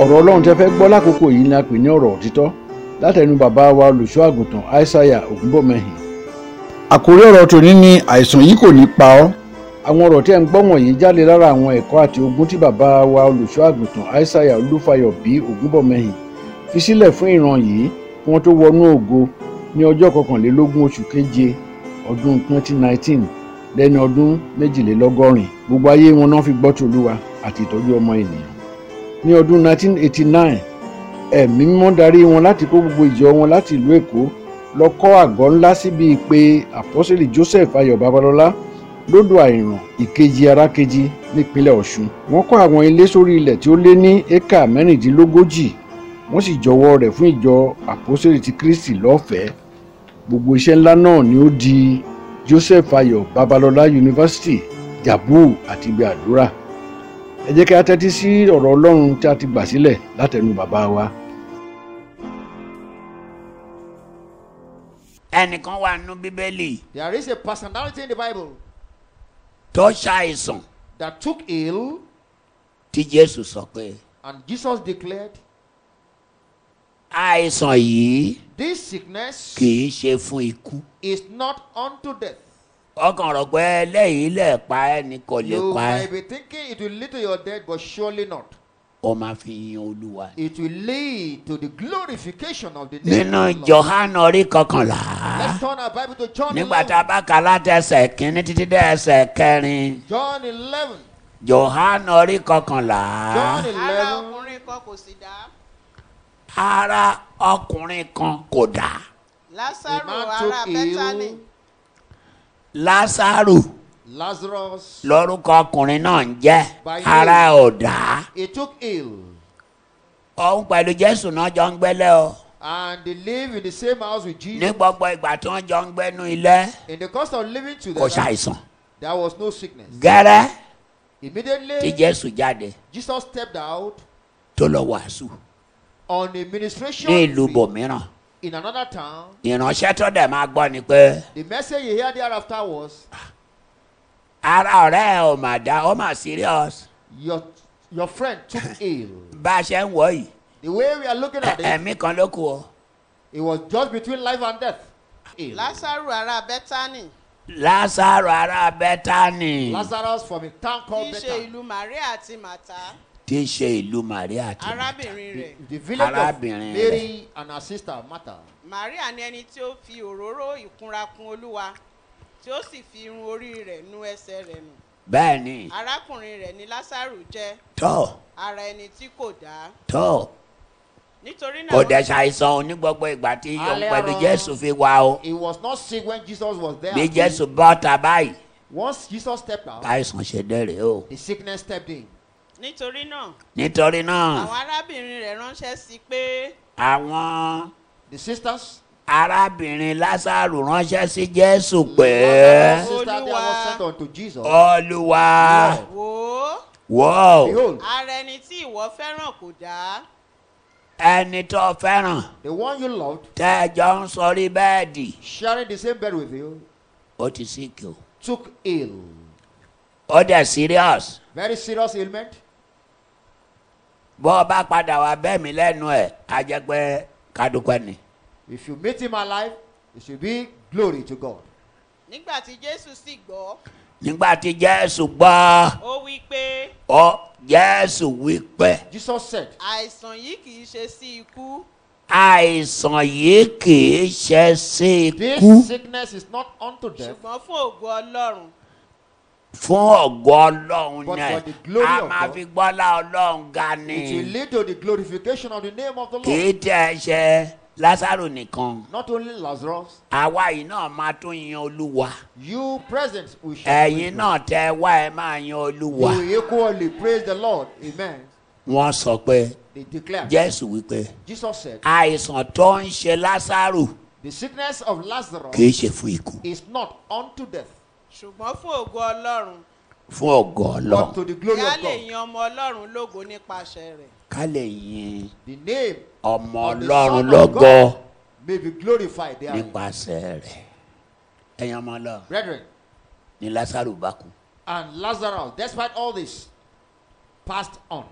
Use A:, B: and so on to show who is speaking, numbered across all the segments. A: ọ̀rọ̀ ọlọ́run tẹ́ fẹ́ gbọ́ lákòókò yìí ni a pè ní ọ̀rọ̀ òtítọ́ látẹnu bàbá wa olùṣọ́ àgùntàn aishaiya ògúnbọ̀mẹ́hìn.
B: àkórí ọ̀rọ̀ tòní ni àìsàn yìí kò ní pa ọ́
A: àwọn ọ̀rọ̀ tí ẹ̀ ń gbọ́ wọ̀nyí jáde lára àwọn ẹ̀kọ́ àti ogun tí bàbá wa olùṣọ́ àgùntàn aishaiya olúfayọ bí ògúnbọ̀mẹ́hìn fi sílẹ̀ fún ìran yìí kí wọ́n tó wọnú ògo ní ọjọ́ kọkànlélógún oṣù keje ọdún 2019 lẹ́ni ọdún méjìlélọ́gọ́rin gbogbo ayé wọn náà fi gbọ́ tòlúwa àti ìtọ́jú ọmọ ènìyàn ní ọdún 1989 ẹ̀mí mímọ́ darí wọn láti kó gbogbo ìjọ wọn láti ìlú èkó lọ kọ́ àgọ́ ńlá síbi pé àpọ́sẹ̀lì joseph ayọ̀ babalọ́lá lódò àìràn ìkejì arákejì nípínlẹ̀ ọ̀ṣun wọ́n kọ́ àwọn ilé sórí ilẹ̀ tí ó lé ní éka mẹ́rìndínlógójì wọ́n sì jọwọ́ rẹ̀ fún ìjọ àpọ́sẹ̀lì ti kristi lọ́fẹ̀ẹ́ gbogbo iṣẹ́ ńlá náà ni ó di joseph ayọ̀ babalọ́lá university yabu àti ibi àdúrà ẹ jẹ́ kí a tẹ́tí sí ọ̀rọ̀ ọlọ́run tí a ti gbà sílẹ̀ látẹnu bàbá wa.
C: ẹnìkan wà nínú bíbélì
D: There is a personality in the Bible
C: tó ṣàìsàn
D: that took ill,
C: tí jésù sọ pé
D: and Jesus declared,
C: àìsàn yìí
D: This sickness
C: kì í ṣe fún ikú
D: is not unto death.
C: ọkàn rò pé ẹlẹ́yìí lè pa ẹ́ ni kò lè
D: You
C: pa
D: might
C: ẹ́
D: be thinking it will lead to your death, but surely not.
C: ó máa fi yin olúwa
D: It will lead to the glorification of the name
C: nínú
D: of the Lord.
C: johannu orí kọkànlá
D: Let's turn our Bible to John
C: nígbà tá a
D: 11.
C: bá kà láti ẹsẹ̀ kínní títí dé ẹsẹ̀ kẹrin
D: John 11.
C: johannu orí kọkànlá
D: John
E: ara
D: 11.
E: ọkùnrin kan kò sì dá
C: ara ọkùnrin kan kò dá
D: The
E: lásàrò
D: man
E: ara
D: took
E: bẹ́tánì
D: ill.
C: lásàrò
D: Lazarus.
C: lórúkọ ọkùnrin náà ń jẹ́
D: By
C: ara
D: name.
C: ẹ̀ ò dá
D: He took ill.
C: òun pẹ̀lú jésù náà jọ ń gbélé o
D: And they live in the same house with
C: ní
D: Jesus.
C: gbogbo ìgbà tí wọ́n jọ ń gbénu ilé
D: In the course of living
C: kò
D: together,
C: ṣàìsàn
D: there was no sickness.
C: gẹ́rẹ́ tí
D: Immediately,
C: jésù jáde
D: Jesus stepped out
C: tó lọ wàásù
D: on a
C: ní
D: ministration
C: ìlú
D: field
C: bòmíràn
D: in another town.
C: ìránṣẹ́ tó dẹ̀ máa gbọ́ ni pé
D: The message he heard thereafter was,
C: ara ọ̀rẹ́ ẹ̀ ò mà dá ó mà serious
D: Your, your friend took ill.
C: bá a ṣe ń wọ̀ yìí
D: The way we are looking at
C: ẹ̀-
D: it,
C: ẹ̀mí kan ló kù o
D: it was just between life and death. Ill.
E: lásàrò ara bẹ́tánì
C: lásàrò ara bẹ́tánì
D: Lazarus from a town
E: tí í
D: called
E: ṣe
D: Bethany.
E: ìlú maria àti màtá
C: tí í ṣe ìlú màríà tó
E: arábìnrin rẹ̀
D: The village of
C: Arábìnrin rẹ̀.
D: Mary and her sister Martha.
E: maria ni ẹni tí ó fi òróró ìkunra kun olúwa tí ó sì fi irun orí rẹ̀ nu ẹsẹ̀ rẹ̀ nù
C: bẹ́ẹ̀ ni
E: arákùnrin rẹ̀ ni lásàrò jẹ́
C: tó
E: ara ẹni tí kò dá
C: tó
E: nítorí náà
C: kò
E: wọ́n-
C: dẹ̀ ṣàìsàn o ní gbogbo ìgbà tí òun
D: Alẹ́
C: pẹ̀lú
D: ọ̀rọ̀.
C: jésù fi wá o
D: He was not sick when Jesus was there.
C: bí jésù bọ́ta báyìí
D: Once Jesus stepped out,
C: káìsàn ṣe dẹ́rẹ̀ o
D: the sickness stepped in.
E: nítorí náà
C: nítorí náà
E: àwọn arábìnrin rẹ̀ ránṣẹ́ sí i pé
C: àwọn
D: The sisters,
C: arábìnrin lásàrò ránṣẹ́ sí jésù pé
D: Lazarus' sister, there was
E: Olúwa.
D: sent unto Jesus.
C: olúwa
E: wò ó
C: wọ́
D: Behold,
E: ara ẹni tí ìwọ fẹ́ràn kò dá
C: ẹni tó fẹ́ràn
D: the one you loved,
C: tẹ́ ẹ jọ ń sọrí bẹ́ẹ̀dì
D: sharing the same bed with you,
C: ó ti sí kí o
D: took ill.
C: ó dẹ̀ serious
D: Very serious ailment.
C: bó o bá padà wá bẹ́ẹ̀ mi lẹ́nu ẹ̀ á jẹ́ pé kádùpẹ́ ni
D: If you meet him alive, it should be glory to God.
E: nígbà tí jésù sì gbọ́
C: nígbà tí jésù gbọ́
E: ó wí pé
C: ọ jésù wí pé
D: Jesus said,
E: àìsàn yìí kì í ṣe sí ikú
C: àìsàn yìí kì í ṣe sí
D: This
C: ikú
D: sickness is not unto death,
E: ṣùgbọ́n fún ògo ọlọ́run
C: fún ọ̀gọ́ ọlọ́run
D: But
C: náà
D: for the glory
C: a
D: of
C: máa
D: God.
C: fi gbọ́lá ọlọ́run ga ni
D: it will lead to the glorification of the name of the
C: kì
D: Lord.
C: í tẹ̀ ẹ́ ṣe lásàrò nìkan
D: Not only Lazarus,
C: àwa yìí náà máa tún yan olúwa
D: you present, we shall
C: ẹ̀yin
D: praise
C: náà tẹ́ ẹ wá ẹ máa yan
D: God.
C: olúwa
D: We equally praise the Lord. Amen.
C: wọ́n sọ pé
D: They declared.
C: jésù wípé
D: Jesus said,
C: àìsàn tó ń ṣe lásàrò
D: The sickness of
C: kì
D: Lazarus
C: í ṣe fún ikú
D: is not unto death,
E: ṣùgbọ́n fún ògo ọlọ́run
C: fún ọ̀gọ́
D: but
C: ọlọ́run
D: to the glory
E: kí a
D: of
E: lè
D: God.
E: yan ọmọ ọlọ́run lógo nípasẹ̀ rẹ̀
C: ká lè yin
D: The name
C: ọmọ
D: of the
C: ọlọ́run
D: Son of
C: lọ́gọ́
D: God may be glorified there.
C: nípasẹ̀ rẹ̀ ẹ̀yin ọmọ ọlọ́run
D: Brethren,
C: ni lásàrò bá kú
D: and Lazarus, despite all this, passed on.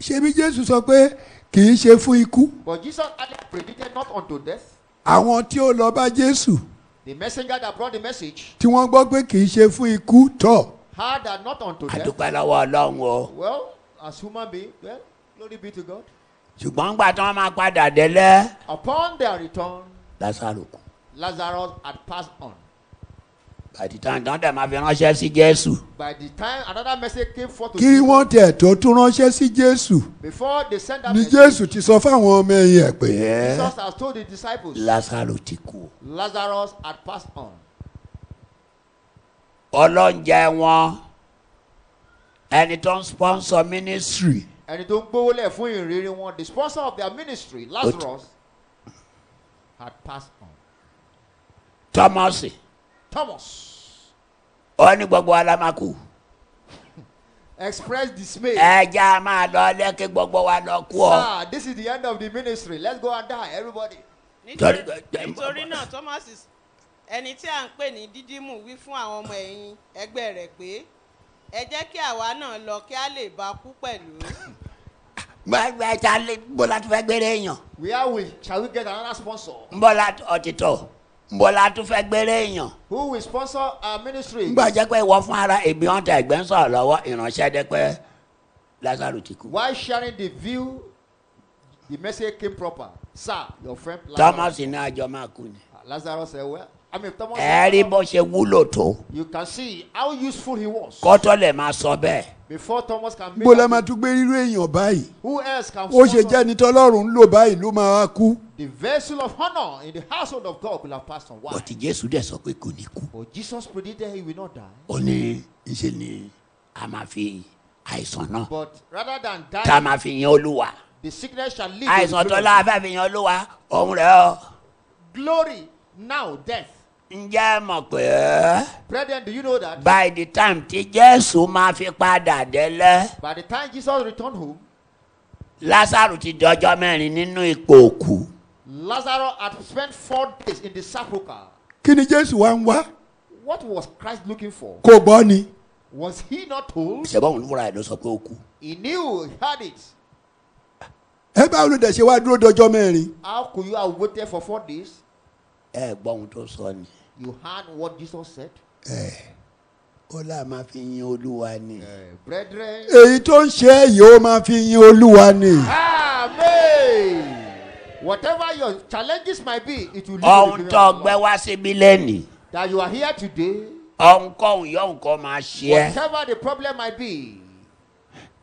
F: ṣebí jésù sọ pé kì í ṣe fún ikú
D: But Jesus had predicted not unto death.
F: àwọn tí ó lọ bá jésù
D: The messenger that brought the message
F: tí wọ́n gbọ́ pé kì í ṣe fún ikú tọ̀
D: had that not unto death.
C: àdúpẹ́ lọ́wọ́ ọlọ́run o
D: Well, as human being, well, glory be to God.
C: ṣùgbọ́n ńgbà tí wọ́n máa padà délẹ̀
D: Upon their return,
C: lásàrò kù
D: Lazarus had passed on.
C: àti tán tán dẹ̀ máa fi ránṣẹ́ sí jésù
D: By the time another message came forth to
F: kí
D: Jesus,
F: wọ́n tẹ̀ tó tún ránṣẹ́ sí jésù
D: before they sent that
F: ni
D: message,
F: jésù ti sọ fáwọn ọmọ ẹ̀yìn ẹ̀ pé
D: Jesus has told the disciples,
C: lásàrò ti kú o.
D: Lazarus had passed on.
C: ọlọ́njẹ wọn ẹni tó ń sponsor ministry
D: ẹni tó ń gbówó lẹ̀ fún ìrírí wọn the sponsor of their ministry lazarus had passed on
C: thomas
D: thomas
C: ó ní gbogbo alamaku
D: expressed dismay
C: ẹja máa lọ lẹ́kẹ́ gbogbo wa lọ kú ọ.
D: sir this is the end of the ministry let's go and die everybody
E: nítorí
C: Torí-
E: nítorí náà thomas ẹni tí a ń pè ní dídímù wí fún àwọn ọmọ ẹ̀yìn ẹgbẹ́ rẹ̀ pé ẹ jẹ́ kí àwa náà lọ kí a lè bá kú pẹ̀lú
C: gbẹgbẹ ta lè bọ́lá tó fẹ́ gbére èèyàn
D: where we shall we get another sponsor
C: bọ́lá ọ̀títọ́ bọ́lá tó fẹ́ gbére èèyàn
D: who will sponsor our ministry
C: ngbà jẹ́ pé ìwọ fún ara èmi ọ̀tá ẹ̀gbẹ́ ń sọ̀rọ̀ lọ́wọ́ ìránṣẹ́ dẹ́ pé lásàrò ti kú.
D: while sharing the view the message came proper sir your friend lazarus
C: thomas ní àjọ máa kú ni.
D: lazarus said well i mean thomas
C: ẹ
D: said,
C: rí bó ṣe wúlò tó
D: you can see how useful he was
C: kọ́tọ́ lè máa sọ bẹ́ẹ̀.
D: before thomas can make
F: gbọ́dọ̀
D: that-
F: máa tún gbé irú èèyàn báyìí
D: who else can
F: ó ṣe
D: sponsor
F: jẹ́ni tọ́lọ́run ń lò báyìí ló máa wá kú
D: The vessel of honor in the household of God will have passed on. Why?
C: bọ̀tí jésù dẹ̀ sọ pé kò ní kú.
D: But Jesus predicted he will not die.
C: ó ní ṣe ni a máa fi àìsàn náà
D: But rather than
C: tá a
D: die,
C: máa fi yan olúwa.
D: the sickness shall lead to
C: àìsàn tó
D: the glory.
C: láwa fẹ́ fi yan olúwa òun rẹ̀ ọ́.
D: glory. Now, death.
C: ǹjẹ́ ẹ mọ̀ pé
D: Brethren, do you know that
C: by the time tí jésù máa fi padà délẹ̀
D: by the time Jesus returned home,
C: lásàrò ti dọjọ́ mẹ́rin nínú ipò òkú.
D: Lazarus had spent four days in the sepulchre.
F: kí ni jésù wá ń wá
D: What was Christ looking for?
F: kò gbọ́ ni
D: Was he not told?
C: ṣùgbọ́n òun fúnra ẹ̀ ló sọ pé ó kú.
D: He knew, he had it.
F: ẹ báwo ló dẹ̀ ṣe wá dúró dọjọ́ mẹ́rin
D: How could you have waited for four days?
C: ẹ gbọ́ ohun tó sọ ni.
D: You heard what Jesus said.
C: ó láà máa fi yan olúwa ni.
D: Eh, brethren,
F: èyí tó ń ṣe é yìí ó máa fi yin olúwa ni
D: Amen. Whatever your challenges might be, it will lead to the
C: ohun
D: glory
C: tó
D: of the
C: gbé
D: Lord.
C: wá síbí lẹ́nìí
D: That you are here today,
C: ohunkóhun yóò nǹkan máa ṣe ẹ́
D: whatever the problem might be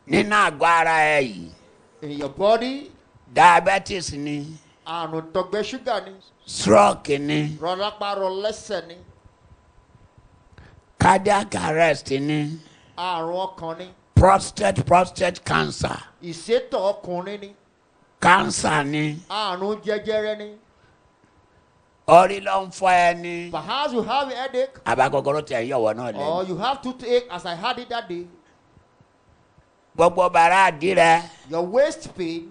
C: nínú àgọ́ ara ẹ yìí
D: in your body,
C: diabetes ni
D: àrùn tọgbẹ ṣúgà ni
C: stroke ni
D: rọlápá rọlẹsẹ ni
C: cardiac arrest ni
D: àrùn ọkàn ni
C: prostate prostate cancer
D: ìṣètò ọkùnrin ni
C: cancer ni
D: àrùn jẹjẹrẹ ni.
C: orí ló ń fọ ẹ ni
D: Perhaps you have a headache
C: abakokoro tẹ̀ ń yọ̀wọ̀ náà
D: or
C: lẹ́nu
D: you have toothache as I had it that day.
C: gbogbo bàrà àdí rẹ
D: Your waist pain,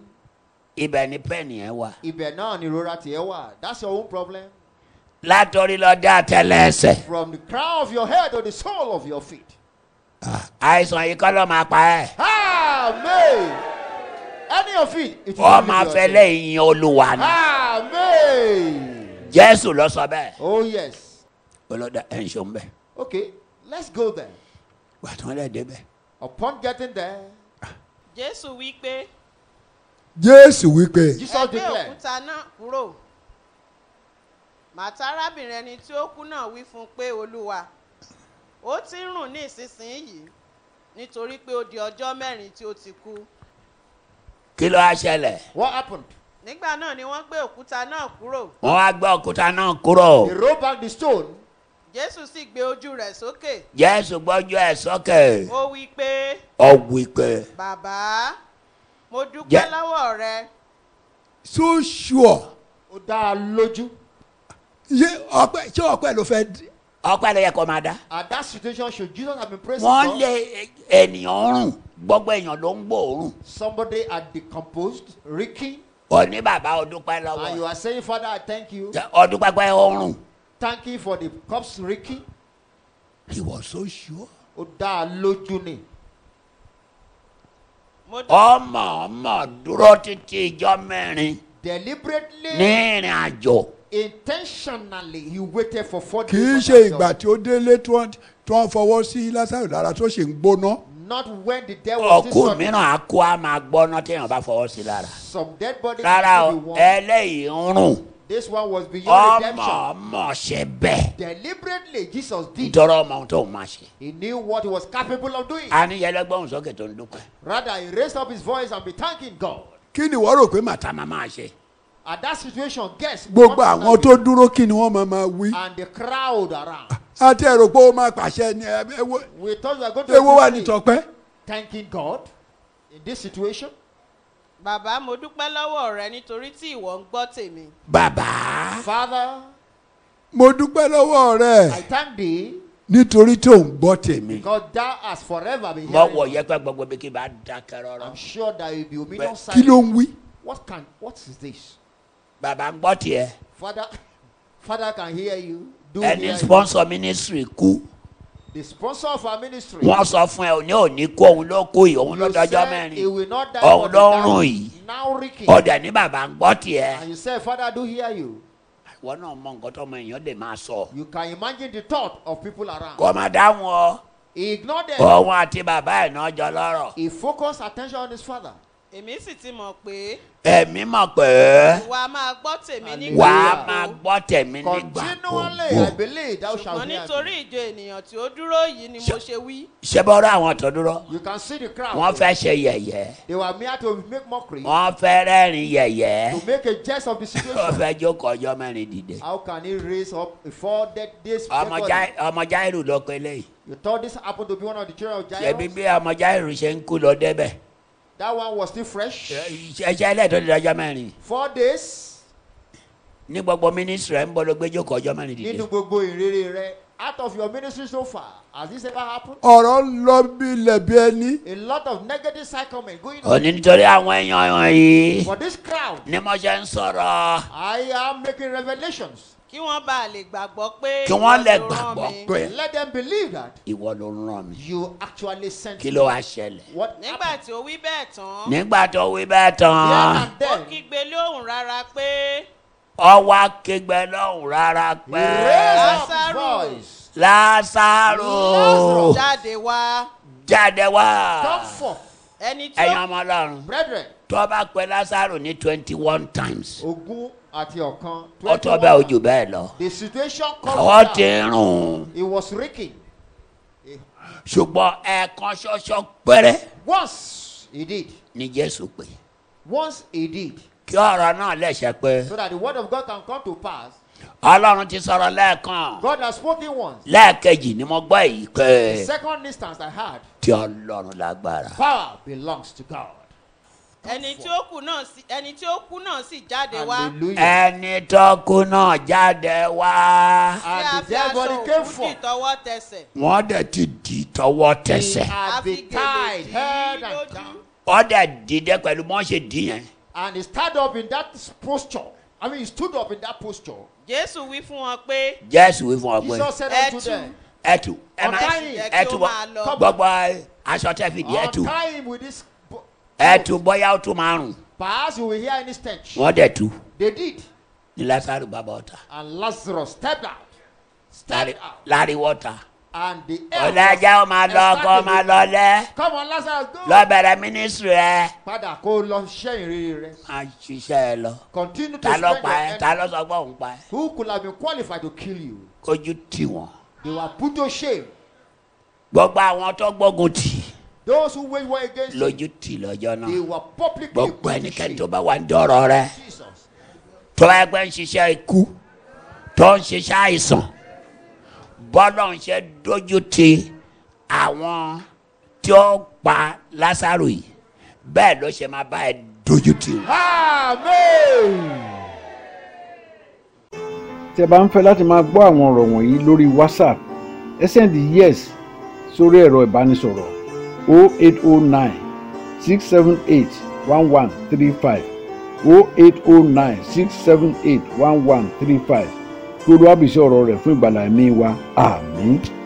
C: ibẹ̀ ni pẹ́ẹ́nì ẹ wà
D: ibẹ̀ náà ni ìrora tiẹ̀ wà. That's your own problem.
C: látọrí lọ dé àtẹlẹsẹ̀
D: From the crown of your head to the sole of your feet.
C: àìsàn yìí kọ́ ló máa pa ẹ́
D: Amen. Any of it, it
C: ó máa
D: leave
C: fẹ́
D: your
C: lẹ́yìn yin olúwa
D: day.
C: ni
F: Ah!
D: Amen.
C: jésù ló sọ bẹ́ẹ̀
D: Oh, yes.
C: olódà ẹ̀ ń ṣeun bẹ́ẹ̀
D: Okay, let's go there.
C: wà tí wọ́n lè débẹ̀.
D: Upon getting there,
E: jésù wí pé
F: jésù wípé
D: Jesus
E: gbé
D: declared,
E: òkúta náà kúrò màtá arábìnrin ẹni tí ó kú náà wí fún un pé olúwa ó ti ń rùn ní ìsinsìnyí nítorí pé ó di ọjọ́ mẹ́rin tí ó ti kú
C: kí ló wá ṣẹlẹ̀
D: What happened?
E: nígbà náà ni wọ́n gbé òkúta náà kúrò
C: wọ́n wá gbé òkúta náà kúrò
D: They rolled back the stone.
E: jésù sì gbé ojú rẹ̀ sókè
C: jésù gbọ́jú ẹ̀ sókè
E: ó wí pé
C: ọ wí pé
E: bàbá mo dúpẹ́
C: Jẹ́-
E: lọ́wọ́ rẹ
F: so sure
D: Ó dá a lójú.
F: ṣé ọpẹ ṣé ọpẹ ló fẹ́ d-
C: ọpẹ́ ló yẹ kó máa dá.
D: At that situation, should Jesus have been praising
C: wọ́n
D: God,
C: lé ènìyàn rùn gbogbo èèyàn ló ń gbòòrùn
D: somebody had decomposed, reeking,
C: òní bàbá ọdúpẹ́
D: and you
C: lọ́wọ́
D: are saying, Father, I thank you.
C: ọdúpẹ́ pé ó rùn.
D: Thank you for the cups reeking.
C: he was so sure.
D: Ó dá a lójú ni.
E: mo mo dá
C: ọmọ ọmọ dúró títí ìjọ mẹ́rin ní
D: Deliberately,
C: ìrìn àjò
D: intentionally, he waited for four
F: kì í
D: days.
F: ṣe
D: for
F: ìgbà
D: himself.
F: tí ó délé tí wọ́n tí wọ́n fọwọ́ sí lásàrò lára tó ṣe ń gbóná
D: Not when the dead was
C: ọkù
D: still sudden.
C: mìíràn akó a máa gbọ́ná téèyàn bá fọwọ́ sí lára
D: Some dead bodies
C: rárá
D: had
C: o
D: to be warm.
C: ẹlẹ́yìí ń rùn
D: This one was beyond
C: ọmọ
D: redemption.
C: ọmọ ṣe bẹ́ẹ̀
D: Deliberately, Jesus did.
C: nítorí ọmọ ohun tó ń máa ṣe
D: He knew what he was capable of doing.
C: àníyẹlẹgbọ́n sókè tó ń dúpẹ́
D: Rather, he raised up his voice and be thanking God.
F: kí ni wọ́n rò pé màtá
C: tá a máa máa ṣe
D: At that situation, guess
F: gbogbo
D: what
F: àwọn tó
D: happened?
F: dúró kí ni wọ́n máa máa wí
D: and the crowd around.
F: àti ẹ̀rọ pé ó máa pàṣẹ ni ẹ- ẹ wo-
D: We thought we were going to
F: ewo wà ní
D: see
F: tọpẹ́
D: thanking God in this situation.
E: bàbá mo dúpẹ́ lọ́wọ́ rẹ nítorí tí ìwọ ń gbọ́ tèmi
C: bàbá
D: Father,
F: mo dúpẹ́ lọ́wọ́
D: I
F: rẹ̀
D: thank thee
F: nítorí tó ń gbọ́ tèmi
D: because thou hast forever been
C: mo wọ
D: hearing.
C: yẹpẹ gbogbo bí kí bá dákẹ́ rọrọ
D: I'm sure that you'll be obedient.
C: But-
F: kí ló
D: silent.
F: ń wí
D: What can what is this?
C: bàbá ń gbọ́ tiẹ̀
D: Father, Father can hear you. Do
C: ẹni
D: hear you.
C: sponsor ministry kú
D: The sponsor of our ministry.
C: wọ́n sọ fún ẹ òní òní kó òun ló kú yìí òun
D: You
C: lọ́dọ́jọ́
D: said he
C: mẹ́rin
D: will not die
C: Ọ̀hún
D: for the
C: ló ń
D: dying.
C: rùn yìí.
D: Now Ricky.
C: ọ̀dẹ̀ ní bàbá ń gbọ́ tiẹ̀
D: And you said, Father, I do hear you.
C: ìwọ náà mọ nǹkan tó ọmọ èèyàn lè máa sọ
D: You can imagine the thought of people around.
C: kó má dáhùn ọ
D: He ignored them.
C: òun àti bàbá ẹ̀ náà jọ lọ́rọ̀
D: He focused attention on his father.
E: èmi sì ti mọ̀ pé
C: ẹ̀mí mọ̀ pé
E: ìwọ a máa gbọ́ tèmi
D: Hallelujah.
C: wà
E: nígbà
C: á
E: gbogbo.
C: máa gbọ́ tẹ̀mí nígbà
D: Continually, I
C: gbogbo.
D: believe thou shalt
E: ṣùgbọ́n
D: hear
E: nítorí
D: me.
E: ìjọ ènìyàn tí ó dúró yìí ni mo ṣe wí
C: ṣé bọ́rọ̀ àwọn tó dúró
D: You can see the crowd.
C: wọ́n fẹ́ ṣe yẹ̀yẹ́
D: They were mere to make mockery,
C: wọ́n fẹ́ rẹ́rìn yẹ̀yẹ́
D: to make a jest of the
C: wọ́n
D: situation.
C: fẹ́ jókòó ọjọ́ mẹ́rin dìde.
D: How can he raise up before that this?
C: ọmọ Jai- ọmọ jairu ló pe léyìí
D: You thought this happened to be one of the children of
C: ṣebí
D: Jairus?
C: bí ọmọ jairu ṣe ń kú lọ débẹ̀
D: That one was still fresh.
C: ẹṣẹ́ ilé tó di ọjọ́ mẹ́rin
D: Four days.
C: ní gbogbo mínísírì ẹ̀ ń bọ́ ló gbé jókòó ọjọ́ mẹ́rin dìde.
D: nínú gbogbo ìrírí rẹ out of your ministry so far has this ever happened
F: ọ̀rọ̀ ń lọ bí lẹ̀bi ẹni
D: a lot of negative cyclemen going on
C: òní nítorí àwọn èèyàn yìí
D: for this crowd
C: ni mo ṣe ń sọ̀rọ̀
D: i am making revelations
E: kí wọ́n bá a lè gbàgbọ́ pé
C: kí wọ́n
E: ìwọ
C: lè
E: ló rán
C: gbàgbọ́
E: mi.
C: pé
D: let them believe that
C: ìwọ ló ń ràn mí
D: you actually sent
C: kí
D: me
C: ló wá ṣẹlẹ̀.
D: what
E: nígbà
D: happened
E: tí ó wí bẹ́ẹ̀ tán
C: nígbà tó wí bẹ́ẹ̀
D: Here
C: tán
D: and
E: ó
D: then,
E: kígbe lóhùn rárá pé
C: ọwọ́ akégbè lọ́hùn rárá
D: he
C: pé
D: raised up his
E: Lazarus.
D: voice.
C: lásàrò
D: Lazarus.
E: jáde wá
C: jáde wá Ah.
D: Come forth,
E: ẹni tí
C: ẹ̀yin
E: ó
C: ọmọ ọlọ́run
D: brethren.
C: tó bá pe lásàrò ní twenty one times
D: Ogún àti ọ̀kan.
C: ọtọ́ bẹ́ẹ̀ ojú bẹ́ẹ̀ lọ
D: The situation
C: àwọn
D: called
C: ti ń rùn
D: It was reeking.
C: ṣùgbọ́n ẹ̀ẹ̀kan ṣoṣo péré
D: Once he did.
C: ni jésù pé
D: Once he did.
C: kí ọ̀rọ̀ náà lẹ̀ṣẹ̀ pé
D: So that the word of God can come to pass.
C: ọlọ́run ti sọ̀rọ̀ lẹ́ẹ̀kan
D: God has spoken once.
C: lẹ́ẹ̀kejì ni mo gbọ́ èyí pé
D: The second instance I had,
C: tí ọlọ́run lágbára
D: power belongs to God.
E: ẹni tí ó kú náà sì ẹni tí ó kú náà sì jáde wá
D: Hallelujah.
C: ẹni tó kú náà jáde wá
E: tí a
D: And the
E: fi
D: dead
E: aṣọ
D: body came
E: òkú dì
D: forth.
E: tọwọ́ tẹsẹ̀
C: wọ́n dẹ̀ ti dì í tọwọ́ tẹsẹ̀
E: a
D: Had
E: fi
D: been
E: gèlè
D: tied,
E: dì í
D: head and
E: lójú
D: down.
C: wọ́n dẹ̀ dìde pẹ̀lú bí wọ́n ṣe dì í yẹn
D: And he stood up in that posture. I mean, he stood up in that posture.
E: jésù wí fún wọn pé
C: jésù wí fún ọ pé
D: Jesus said
E: Eh,
D: unto
E: too.
D: them,
C: ẹ tù ẹ má
D: Untie him.
C: ẹ tù bọ gbogbo aṣọ tẹ́ fi dì ẹ tù
D: Untie him with this. bo-
C: ẹ tù bọ́yá ó tún márùn
D: Perhaps you will hear any stench.
C: wọ́n dẹ̀ tù
D: They did.
C: ní lásàrò bàbá ọ̀tá
D: And Lazarus stepped out. Stepped out.
C: láriwọ́ ọ̀tá
D: And the
C: ọ̀làjà ó máa lọ ọkọ ó máa lọ lẹ́
D: Come on, Lazarus, go.
C: lọ́bẹ̀rẹ̀ mínísírì ẹ
D: Padà kó o lọ ṣẹ́ ìrírí rẹ.
C: máa ṣiṣẹ́ ẹ lọ
D: Continue to
C: ta ló
D: spend
C: pa
D: your
C: ẹ
D: energy.
C: ta ló sọ pé òun pa ẹ
D: who could have been qualified to kill you.
C: kójú tì wọ́n
D: They were put to shame.
C: gbogbo àwọn tó gbógun tì
D: Those who wage war against you,
C: lójú tì lọ́jọ́ náà
D: they were publicly
C: gbogbo
D: put to
C: ẹnikẹ́ni
D: shame.
C: tó bá wà ń dọ̀rọ̀ rẹ
D: Jesus.
C: tó bá gbẹ́ ń ṣiṣẹ́ ikú tó ń ṣiṣẹ́ àìsàn bọ́lọ̀ ń ṣe dójú ti àwọn tí ó pa lásàrò yìí bẹ́ẹ̀ ló ṣe máa bá ẹ dójú ti wọn.
D: Amen.
A: tí ẹ bá ń fẹ́ láti máa gbọ́ àwọn ọ̀rọ̀ wọ̀nyí lórí whatsapp ẹ sẹ́ndì yes sórí ẹ̀rọ ìbánisọ̀rọ̀ 0809 678 1135 0809 678 1135 kí olúwàbísí ọ̀rọ̀ rẹ̀ fún ìgbàlá ẹ̀mí wa àmín.